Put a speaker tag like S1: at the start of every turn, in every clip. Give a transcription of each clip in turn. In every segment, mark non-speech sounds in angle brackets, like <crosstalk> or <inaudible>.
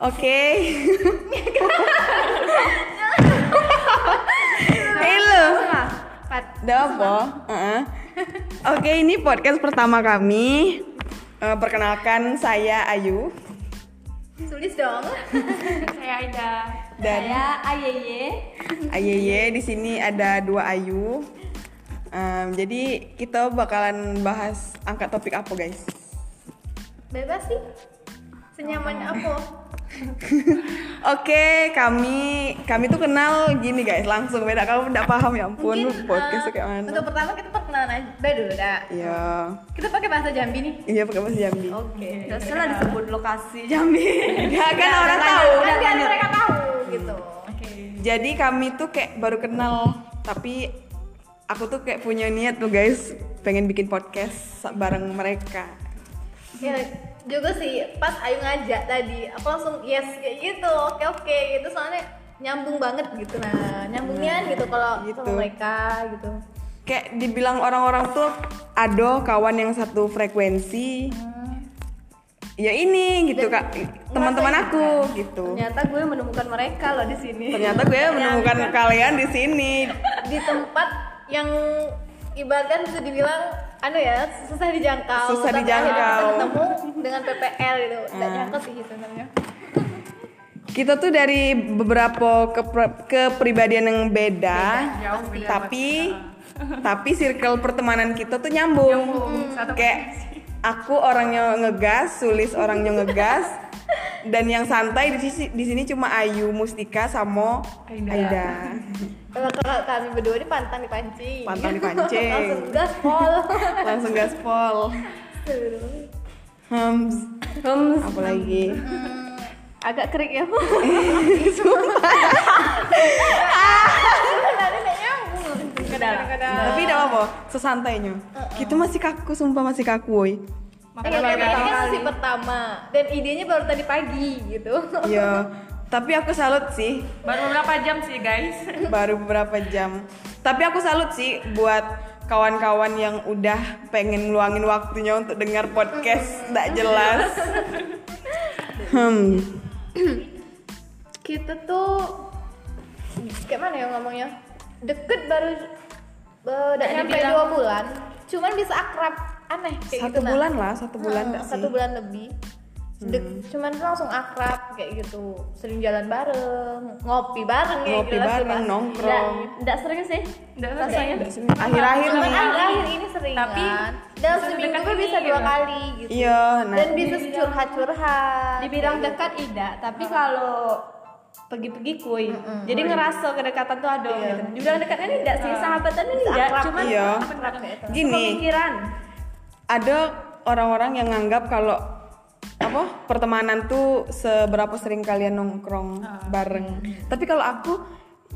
S1: Oke. Eh lu. Dah apa? Heeh. Oke, ini podcast pertama kami. Eh, perkenalkan saya Ayu.
S2: Tulis
S3: <laughs>
S2: dong.
S3: Saya Aida.
S1: Dan-
S3: Saya Ayeye.
S1: Ayeye di sini ada dua Ayu. Em, jadi kita bakalan bahas angkat topik apa guys?
S2: Bebas sih. Senyaman
S3: Oh.
S2: apa?
S1: Oke, kami kami tuh kenal gini guys, langsung beda kamu nggak paham ya ampun podcast tuh
S2: eh,
S1: kayak mana?
S2: Untuk pertama kita perkenalan aja dulu dah.
S1: Iya,
S2: Kita pakai bahasa Jambi nih.
S1: iya pakai bahasa Jambi.
S3: Oke. Terus lah disebut
S2: <laughs>
S3: lokasi Iya, Jambi.
S1: Ya kan orang tahu.
S2: Kan biar mereka tahu gitu.
S1: Jadi kami tuh kayak baru kenal, tapi aku tuh kayak punya niat tuh guys, pengen bikin podcast sa- bareng mereka.
S2: Ya, juga sih pas Ayu ngajak tadi, aku langsung yes kayak gitu. Oke oke gitu soalnya nyambung banget gitu nah
S3: Iya.
S2: nyambungnya gitu kalau
S1: Gitu.
S2: sama mereka gitu
S1: Kayak dibilang orang-orang tuh ada kawan yang satu frekuensi.
S3: Hmm.
S1: Ya ini gitu kak, teman-teman
S2: ngerasain,
S1: aku gitu.
S2: ternyata gue menemukan mereka loh di sini
S1: Ternyata gue menemukan kalian di sini.
S2: di tempat yang ibaratkan bisa dibilang anu ya susah dijangkau
S1: Susah
S2: Tapi
S1: dijangkau. Hmm.
S2: akhirnya kita ketemu dengan PPL gitu nggak nyangka sih gitu sebenarnya
S1: Kita tuh dari beberapa kepre- kepribadian yang beda,
S3: jauh beda
S1: tapi tapi circle pertemanan kita tuh nyambung. Hmm,
S3: Satu
S1: Kayak aku orangnya ngegas, Sulis orangnya ngegas, dan yang santai di sisi di sini cuma Ayu, Mustika sama Aida.
S3: Aida.
S2: kalau kalau kami berdua ini pantang dipancing Gitu.
S1: Pantang dipancing.
S2: langsung gaspol
S1: Langsung gaspol. Hmm,
S3: Hmm,
S1: apa lagi?
S2: agak kering
S1: <laughs>
S2: ya
S1: Tapi tidak apa-apa, sesantainya. Kita masih kaku, sumpah masih kaku, woi.
S2: Oke, oke, Iya, ini kan sesi pertama dan idenya baru tadi pagi gitu.
S1: Iya. Tapi aku salut sih
S3: Baru beberapa jam sih guys.
S1: <laughs> baru beberapa jam. Tapi aku salut sih buat kawan-kawan yang udah pengen ngeluangin waktunya untuk dengar podcast nggak jelas.
S2: <laughs>
S1: Hmm,
S2: Kita tuh kayak mana ya ngomongnya? Deket baru eh, udah
S3: Nggak
S2: nyampe
S3: dibilang.
S2: dua bulan, cuman bisa akrab aneh kayak
S1: satu
S2: gitu, nah.
S1: bulan lah, satu bulan
S2: Hmm,
S1: nggak
S2: satu
S1: sih? Hmm.
S2: bulan lebih Dek, cuman langsung akrab kayak gitu sering jalan bareng ngopi bareng kayak
S1: Ngopi
S2: gitu lah,
S1: bareng,
S2: sumpah.
S1: nongkrong.
S3: Tidak sering sih. Tidak rasanya.
S1: Akhir-akhir
S2: Cuman
S1: nih.
S2: akhir-akhir ini sering
S3: Tapi
S2: kan. dalam
S3: bisa
S2: seminggu
S3: sedekat
S2: gue
S3: ini
S2: bisa dua
S3: gitu.
S2: kali gitu
S1: Iya, nah.
S2: dan bisa curhat-curhat
S4: dibilang dekat tidak tapi kalau pergi-pergi kuy jadi ngerasa kedekatan tuh ada gitu dibilang dekat kan tidak sih sahabatan kan tidak
S2: akrab.
S4: cuman gitu.
S1: Iya.
S2: akrab kayak itu
S1: Gini,
S4: pemikiran
S1: ada orang-orang yang nganggap kalau apa pertemanan tuh seberapa sering kalian nongkrong bareng. Tapi kalau aku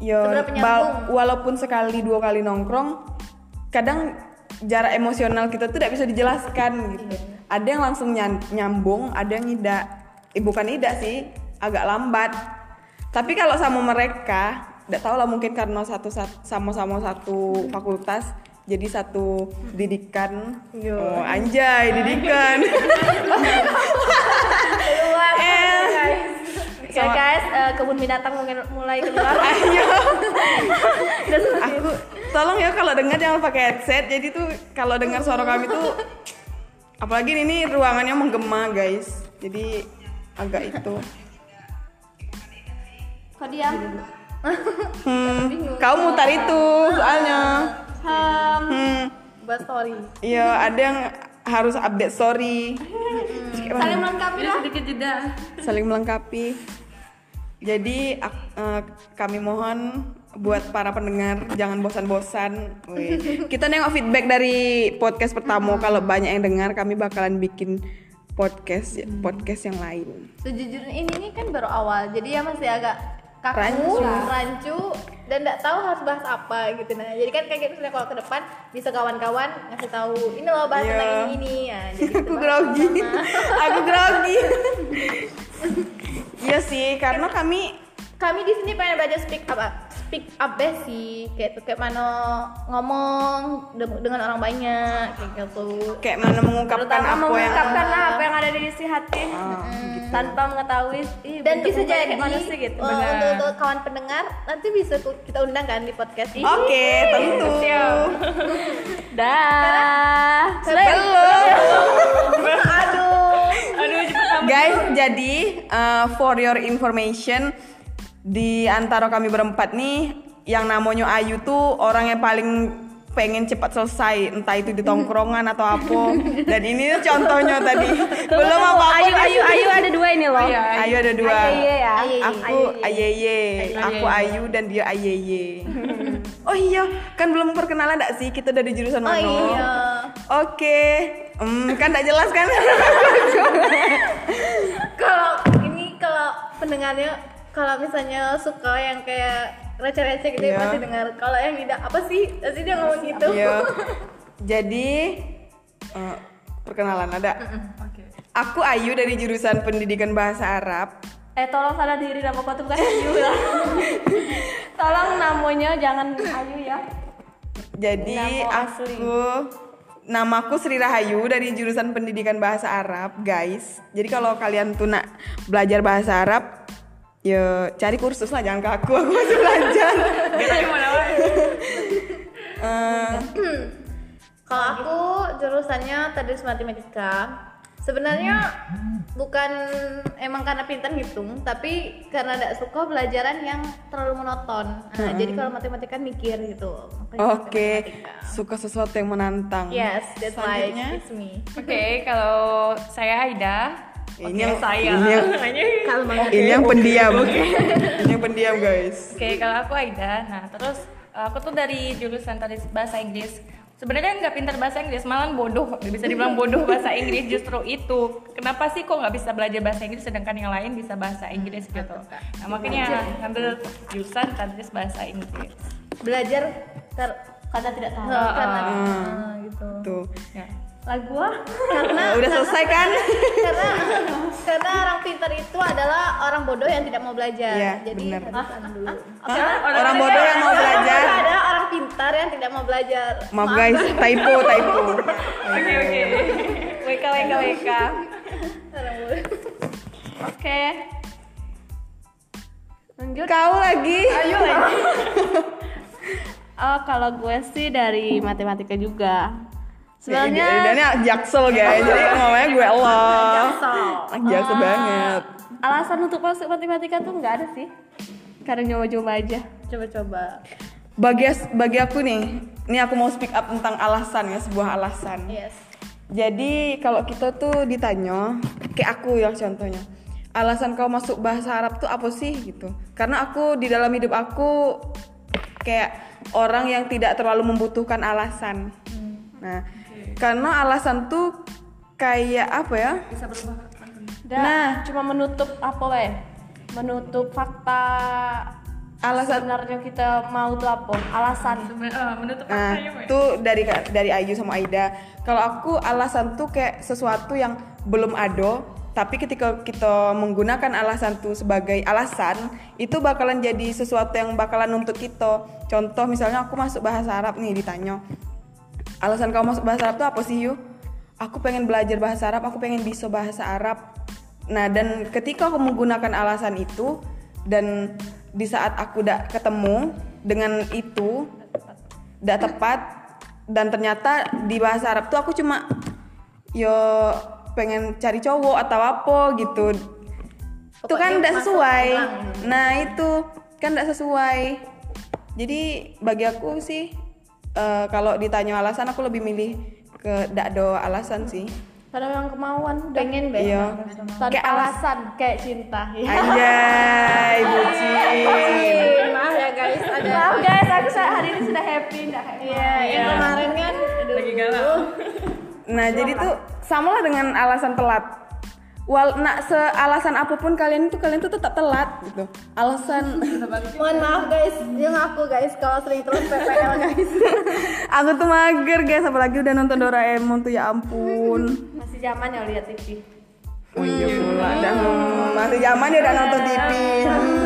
S1: ya
S2: Seberapa
S1: ba- walaupun sekali dua kali nongkrong kadang jarak emosional kita tuh tidak bisa dijelaskan gitu. Ada yang langsung nyan- nyambung, ada yang tidak. Eh bukan tidak sih, agak lambat. Tapi kalau sama mereka, tidak tahu lah mungkin karena satu sat- sama-sama satu fakultas, jadi satu didikan. Oh, anjay, didikan.
S2: keluar
S1: Eh.
S2: guys
S4: ya guys eh, kebun binatang mungkin mulai
S1: <laughs>
S4: keluar
S1: Ayo. Aku tolong ya kalau dengar jangan pakai headset. Jadi tuh kalau dengar suara kami tuh apalagi ini, ini ruangannya menggema, guys. Jadi agak itu.
S4: kok diam
S1: Hmm, kau mutar itu soalnya. Hmm,
S2: buat story
S1: iya ada yang harus update story. Terus kayak mana?
S4: Hmm. saling melengkapi
S3: Jadi
S4: lah
S3: sedikit jeda.
S1: saling melengkapi. Jadi ak- eh, kami mohon buat para pendengar jangan bosan-bosan. Wih. Kita nengok feedback dari podcast
S4: Hmm.
S1: pertama kalau banyak yang dengar kami bakalan bikin podcast ya, podcast yang lain.
S2: sejujurnya ini nih kan baru awal jadi ya masih agak kaku
S1: Rancu.
S2: rancu, dan nggak tahu harus bahas apa gitu nah jadi kan kayak misalnya kalau ke depan bisa kawan-kawan ngasih tahu ini loh bahas
S1: Iya.
S2: tentang ini ini ya jadi kita
S4: <laughs>
S1: Aku
S2: bahas
S1: grogi.
S2: sama-sama.
S1: Aku grogi. Iya sih, karena kami
S2: kami di sini pengen belajar speak up up- speak speak up deh sih kayak kayak mana ngomong de- dengan orang banyak kayak gitu
S1: kayak mana mengungkapkan
S4: terutama
S1: apa yang Ah, gitu.
S4: mengungkapkan lah apa yang ada di isi hati tanpa mengetahui
S2: dan
S4: ih, Iya, bentuk
S2: bisa
S4: mukanya
S2: jadi
S4: kayak mana sih gitu
S2: uh,
S4: Benar.
S2: untuk, untuk kawan pendengar nanti bisa ku- kita undang kan di podcast ini
S4: Oh,
S1: oke tentu
S4: Iya. dah sudah ya?
S2: <laughs> aduh
S1: guys jadi eh, for your information di antara kami berempat nih yang namanya Ayu tuh orang yang paling pengen cepat selesai entah itu di tongkrongan atau apa dan ini tuh contohnya tadi belum
S4: Tunggu,
S1: apa-apa
S4: ayu
S1: nih.
S4: ayu ayu ada dua ini loh
S3: Ayu, Ayu.
S1: Ayu ada dua
S4: Ayeye ya
S2: Ayeye.
S1: aku Ayeye aku Ayu dan dia Ayeye oh iya kan belum perkenalan gak sih kita dari jurusan
S2: oh
S1: mana
S2: iya
S1: oke Hmm, kan gak jelas kan
S2: kalau ini kalau pendengarnya kalau misalnya suka yang kayak receh-receh gitu
S1: Iya.
S2: pasti dengar kalau yang tidak apa sih pasti dia ngomong gitu
S1: Iya. Jadi eh, perkenalan ada.
S3: Oke.
S1: Aku Ayu dari jurusan Pendidikan Bahasa Arab.
S4: eh tolong sadar diri nama kau tuh bukan ayu ya
S3: <laughs>
S4: tolong namanya jangan ayu ya
S1: Jadi
S4: Nama asli.
S1: aku namaku Sri Rahayu dari jurusan Pendidikan Bahasa Arab, guys. Jadi kalau kalian tuh nak belajar bahasa Arab, ya cari kursus lah jangan ke aku, aku masih belajar.
S3: Kita tadi mau lewat.
S1: Eh,
S2: Kalau aku jurusannya tadi matematika. Sebenarnya bukan emang karena pintar ngitung, tapi karena tidak suka pelajaran yang terlalu monoton. Nah, Jadi kalau matematika mikir gitu. Makanya
S1: Oke,
S2: matematika.
S1: suka sesuatu yang menantang.
S2: Yes, that's why
S1: Selanjutnya?
S2: it's me.
S3: Oke, kalau saya Aida.
S1: Ini
S3: Oke,
S1: yang-
S3: saya.
S1: ini yang-
S2: Kalma.
S1: Ini yang pendiam. Ini yang pendiam, guys.
S3: Oke, kalau aku Aida. Nah, terus aku tuh dari jurusan tadi bahasa Inggris. Sebenarnya nggak pintar bahasa Inggris, malah bodoh. Bisa dibilang bodoh bahasa Inggris justru itu. Kenapa sih kok nggak bisa belajar bahasa Inggris sedangkan yang lain bisa bahasa Inggris gitu? Nah, makanya ngambil jurusan tadris bahasa Inggris.
S2: Belajar ter
S4: kata tidak tahu
S2: nah, karena
S1: ah.
S2: nah, gitu.
S1: Tuh.
S3: Ya.
S4: lagu ah
S2: Karena
S1: Udah selesai kan?
S2: karena karena orang pintar itu adalah orang bodoh yang tidak mau belajar.
S1: Iya,
S2: Jadi
S1: benar.
S2: harus tahan dulu.
S1: Hah? Orang kan? bodoh yang
S4: ya?
S1: mau belajar.
S2: ada orang pintar yang tidak mau belajar.
S1: Maaf guys, typo, typo.
S3: Oke, oke.
S4: wk wk wk oke lanjut
S1: Kau lagi?
S4: Ayo lagi. oh, kalau gue sih dari matematika juga.
S1: Ini-
S4: Sebenarnya
S1: ini anak jaksel Ah. guys, jadi ngomongnya gue lo. Anak jaksel banget.
S4: alasan untuk masuk matematika tuh nggak ada sih. Karena nyoba-nyoba aja.
S2: Coba-coba.
S1: Bagi bagi aku nih, ini aku mau speak up tentang alasan ya, sebuah alasan.
S2: Yes.
S1: Jadi kalau kita tuh ditanya, kayak aku yang contohnya, alasan kau masuk bahasa Arab tuh apa sih gitu? Karena aku di dalam hidup aku kayak orang yang tidak terlalu membutuhkan alasan. Nah, karena alasan tuh kayak apa ya?
S4: Dan
S1: Nah.
S4: cuma menutup apa weh? Menutup fakta
S1: Alasan
S4: sebenarnya kita mau tuh apa? Alasan.
S3: Seben- eh, Menutup
S1: Nah,
S3: matanya, Mbak.
S1: itu dari dari Ayu sama Aida. Kalau aku alasan tuh kayak sesuatu yang belum ada, tapi ketika kita menggunakan alasan tuh sebagai alasan, itu bakalan jadi sesuatu yang bakalan nuntut kita. Contoh misalnya aku masuk bahasa Arab nih ditanya. Alasan kamu masuk bahasa Arab tuh apa sih, Yu? Aku pengen belajar bahasa Arab, aku pengen bisa bahasa Arab. Nah, dan ketika aku menggunakan alasan itu dan di saat aku udah ketemu dengan itu, tidak tepat dan ternyata di bahasa Arab tuh aku cuma yo pengen cari cowok atau apa gitu itu kan
S2: Pokoknya
S1: tidak
S2: masuk
S1: sesuai
S2: orang.
S1: nah itu kan tidak sesuai jadi bagi aku sih eh, kalau ditanya alasan aku lebih milih ke tidak ada alasan
S2: <laughs>
S1: sih
S4: Karena memang kemauan. udah.
S2: Pengen be.
S1: iya
S4: Tanpa
S1: Kayak alas-
S4: alasan kayak cinta. Ya.
S1: anjay bucin
S2: Eh, Maaf ya guys, ada
S4: Maaf guys, aku sa- hari ini sudah happy, nggak happy.
S2: Iya, yang kemarin kan aduh.
S3: Lagi galau.
S1: Nah, jadi tuh samalah dengan alasan telat. Wal nak se alasan apapun kalian itu kalian tuh tetap telat gitu. Alasan <laughs>
S2: Mohon maaf guys, dia ngaku guys kalau sering terus PPL guys.
S1: aku tuh mager guys apalagi udah nonton Doraemon tuh ya ampun.
S4: Masih zaman ya lihat TV.
S1: Oh iya <laughs> pula dah. Hmm, Masih zaman ya udah nonton TV. Hmm.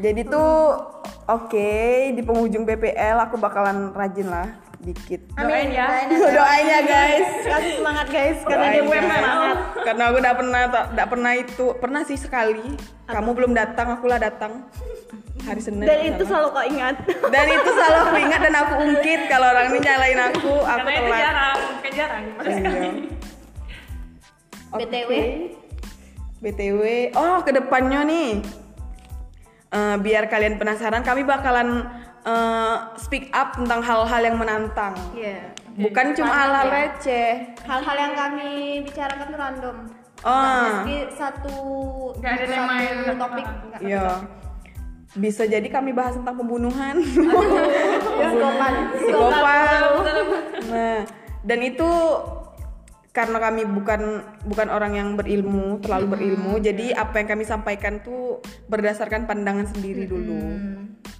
S1: Jadi tuh oke di penghujung PPL aku bakalan rajin lah dikit.
S3: Doain ya.
S1: Doain ya guys.
S2: Kasih semangat guys karena
S1: Doain,
S2: dia
S1: guys.
S2: UMM.
S1: Karena aku udah pernah tak pernah itu pernah sih sekali. Kamu belum datang, akulah datang hari Senin.
S2: Dan itu
S1: salah.
S2: selalu kau ingat.
S1: dan itu selalu aku ingat dan aku ungkit kalau orang ini nyalain aku, aku
S3: Karena itu
S1: telat.
S3: jarang, kayak jarang.
S1: Iya. Oke.
S2: BTW.
S1: BTW, oh kedepannya nih, Eh, biar kalian penasaran, kami bakalan eh, speak up tentang hal-hal yang menantang,
S2: Iya.
S1: bukan cuma hal-hal receh.
S2: Hal-hal yang kami bicarakan tuh random.
S1: Ah.
S2: Jadi satu
S3: Nggak ada tema yang-
S2: satu topik
S3: <laughs>
S2: nggak satu
S1: <laughs> Iya. Bisa jadi kami bahas tentang pembunuhan. <laughs>
S2: Psikopat.
S1: Psikopat. Nah, dan itu karena kami bukan bukan orang yang berilmu, terlalu berilmu, jadi apa yang kami sampaikan tuh berdasarkan pandangan sendiri dulu.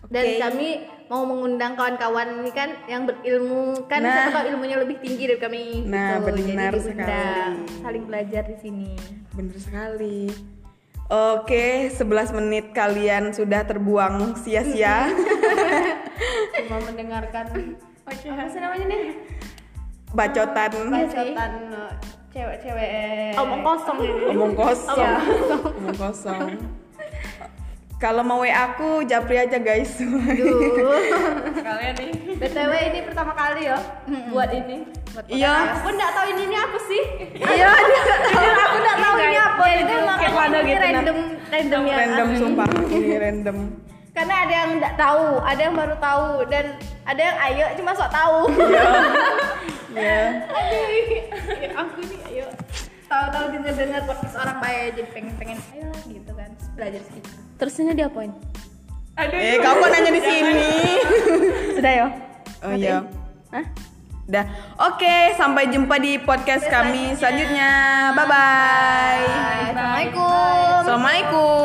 S2: Dan
S1: Oke.
S2: kami mau mengundang kawan-kawan ini kan yang berilmu kan
S1: Nah.
S2: siapa tahu ilmunya lebih tinggi dari kami.
S1: Nah,
S2: gitu. Jadi
S1: benar
S2: diundang,
S1: sekali.
S2: Saling belajar di sini.
S1: Bener sekali. Oke, 11 menit kalian sudah terbuang sia-sia.
S2: Cuma mendengarkan apa sih namanya nih?
S3: Iya
S1: Bacotan,
S2: Bacotan eh, cewek-cewek. eh,
S4: Omong kosong ini.
S1: omong kosong. Omong kosong. Kalau mau WA aku, japri aja guys.
S2: Duh.
S3: Kalian nih.
S2: BTW ini pertama kali ya buat ini.
S1: Iya,
S4: Aku nggak tahu ini ini apa sih.
S2: Iya, <laughs> jujur aku nggak tahu ini apa. Jadi emang
S1: kayak mana
S2: ini
S1: gitu, nah.
S2: random, random ya.
S1: random sumpah. Ini random.
S2: Karena ada yang nggak tahu, ada yang baru tahu, dan ada yang ayo cuma sok tahu.
S1: Iya.
S2: Ya, aku nih ayo <laughs> tahu-tahu dengar dengar podcast orang baik jadi pengen pengen ayo gitu kan belajar sedikit.
S4: Terusnya diapain?
S3: Aduh.
S1: Eh, kamu kok nanya di sini?
S4: Sudah ya.
S1: Oh iya.
S4: Hah?
S1: Dah. Oke, sampai jumpa di podcast kami selanjutnya. Bye bye.
S2: Assalamualaikum.
S1: Assalamualaikum.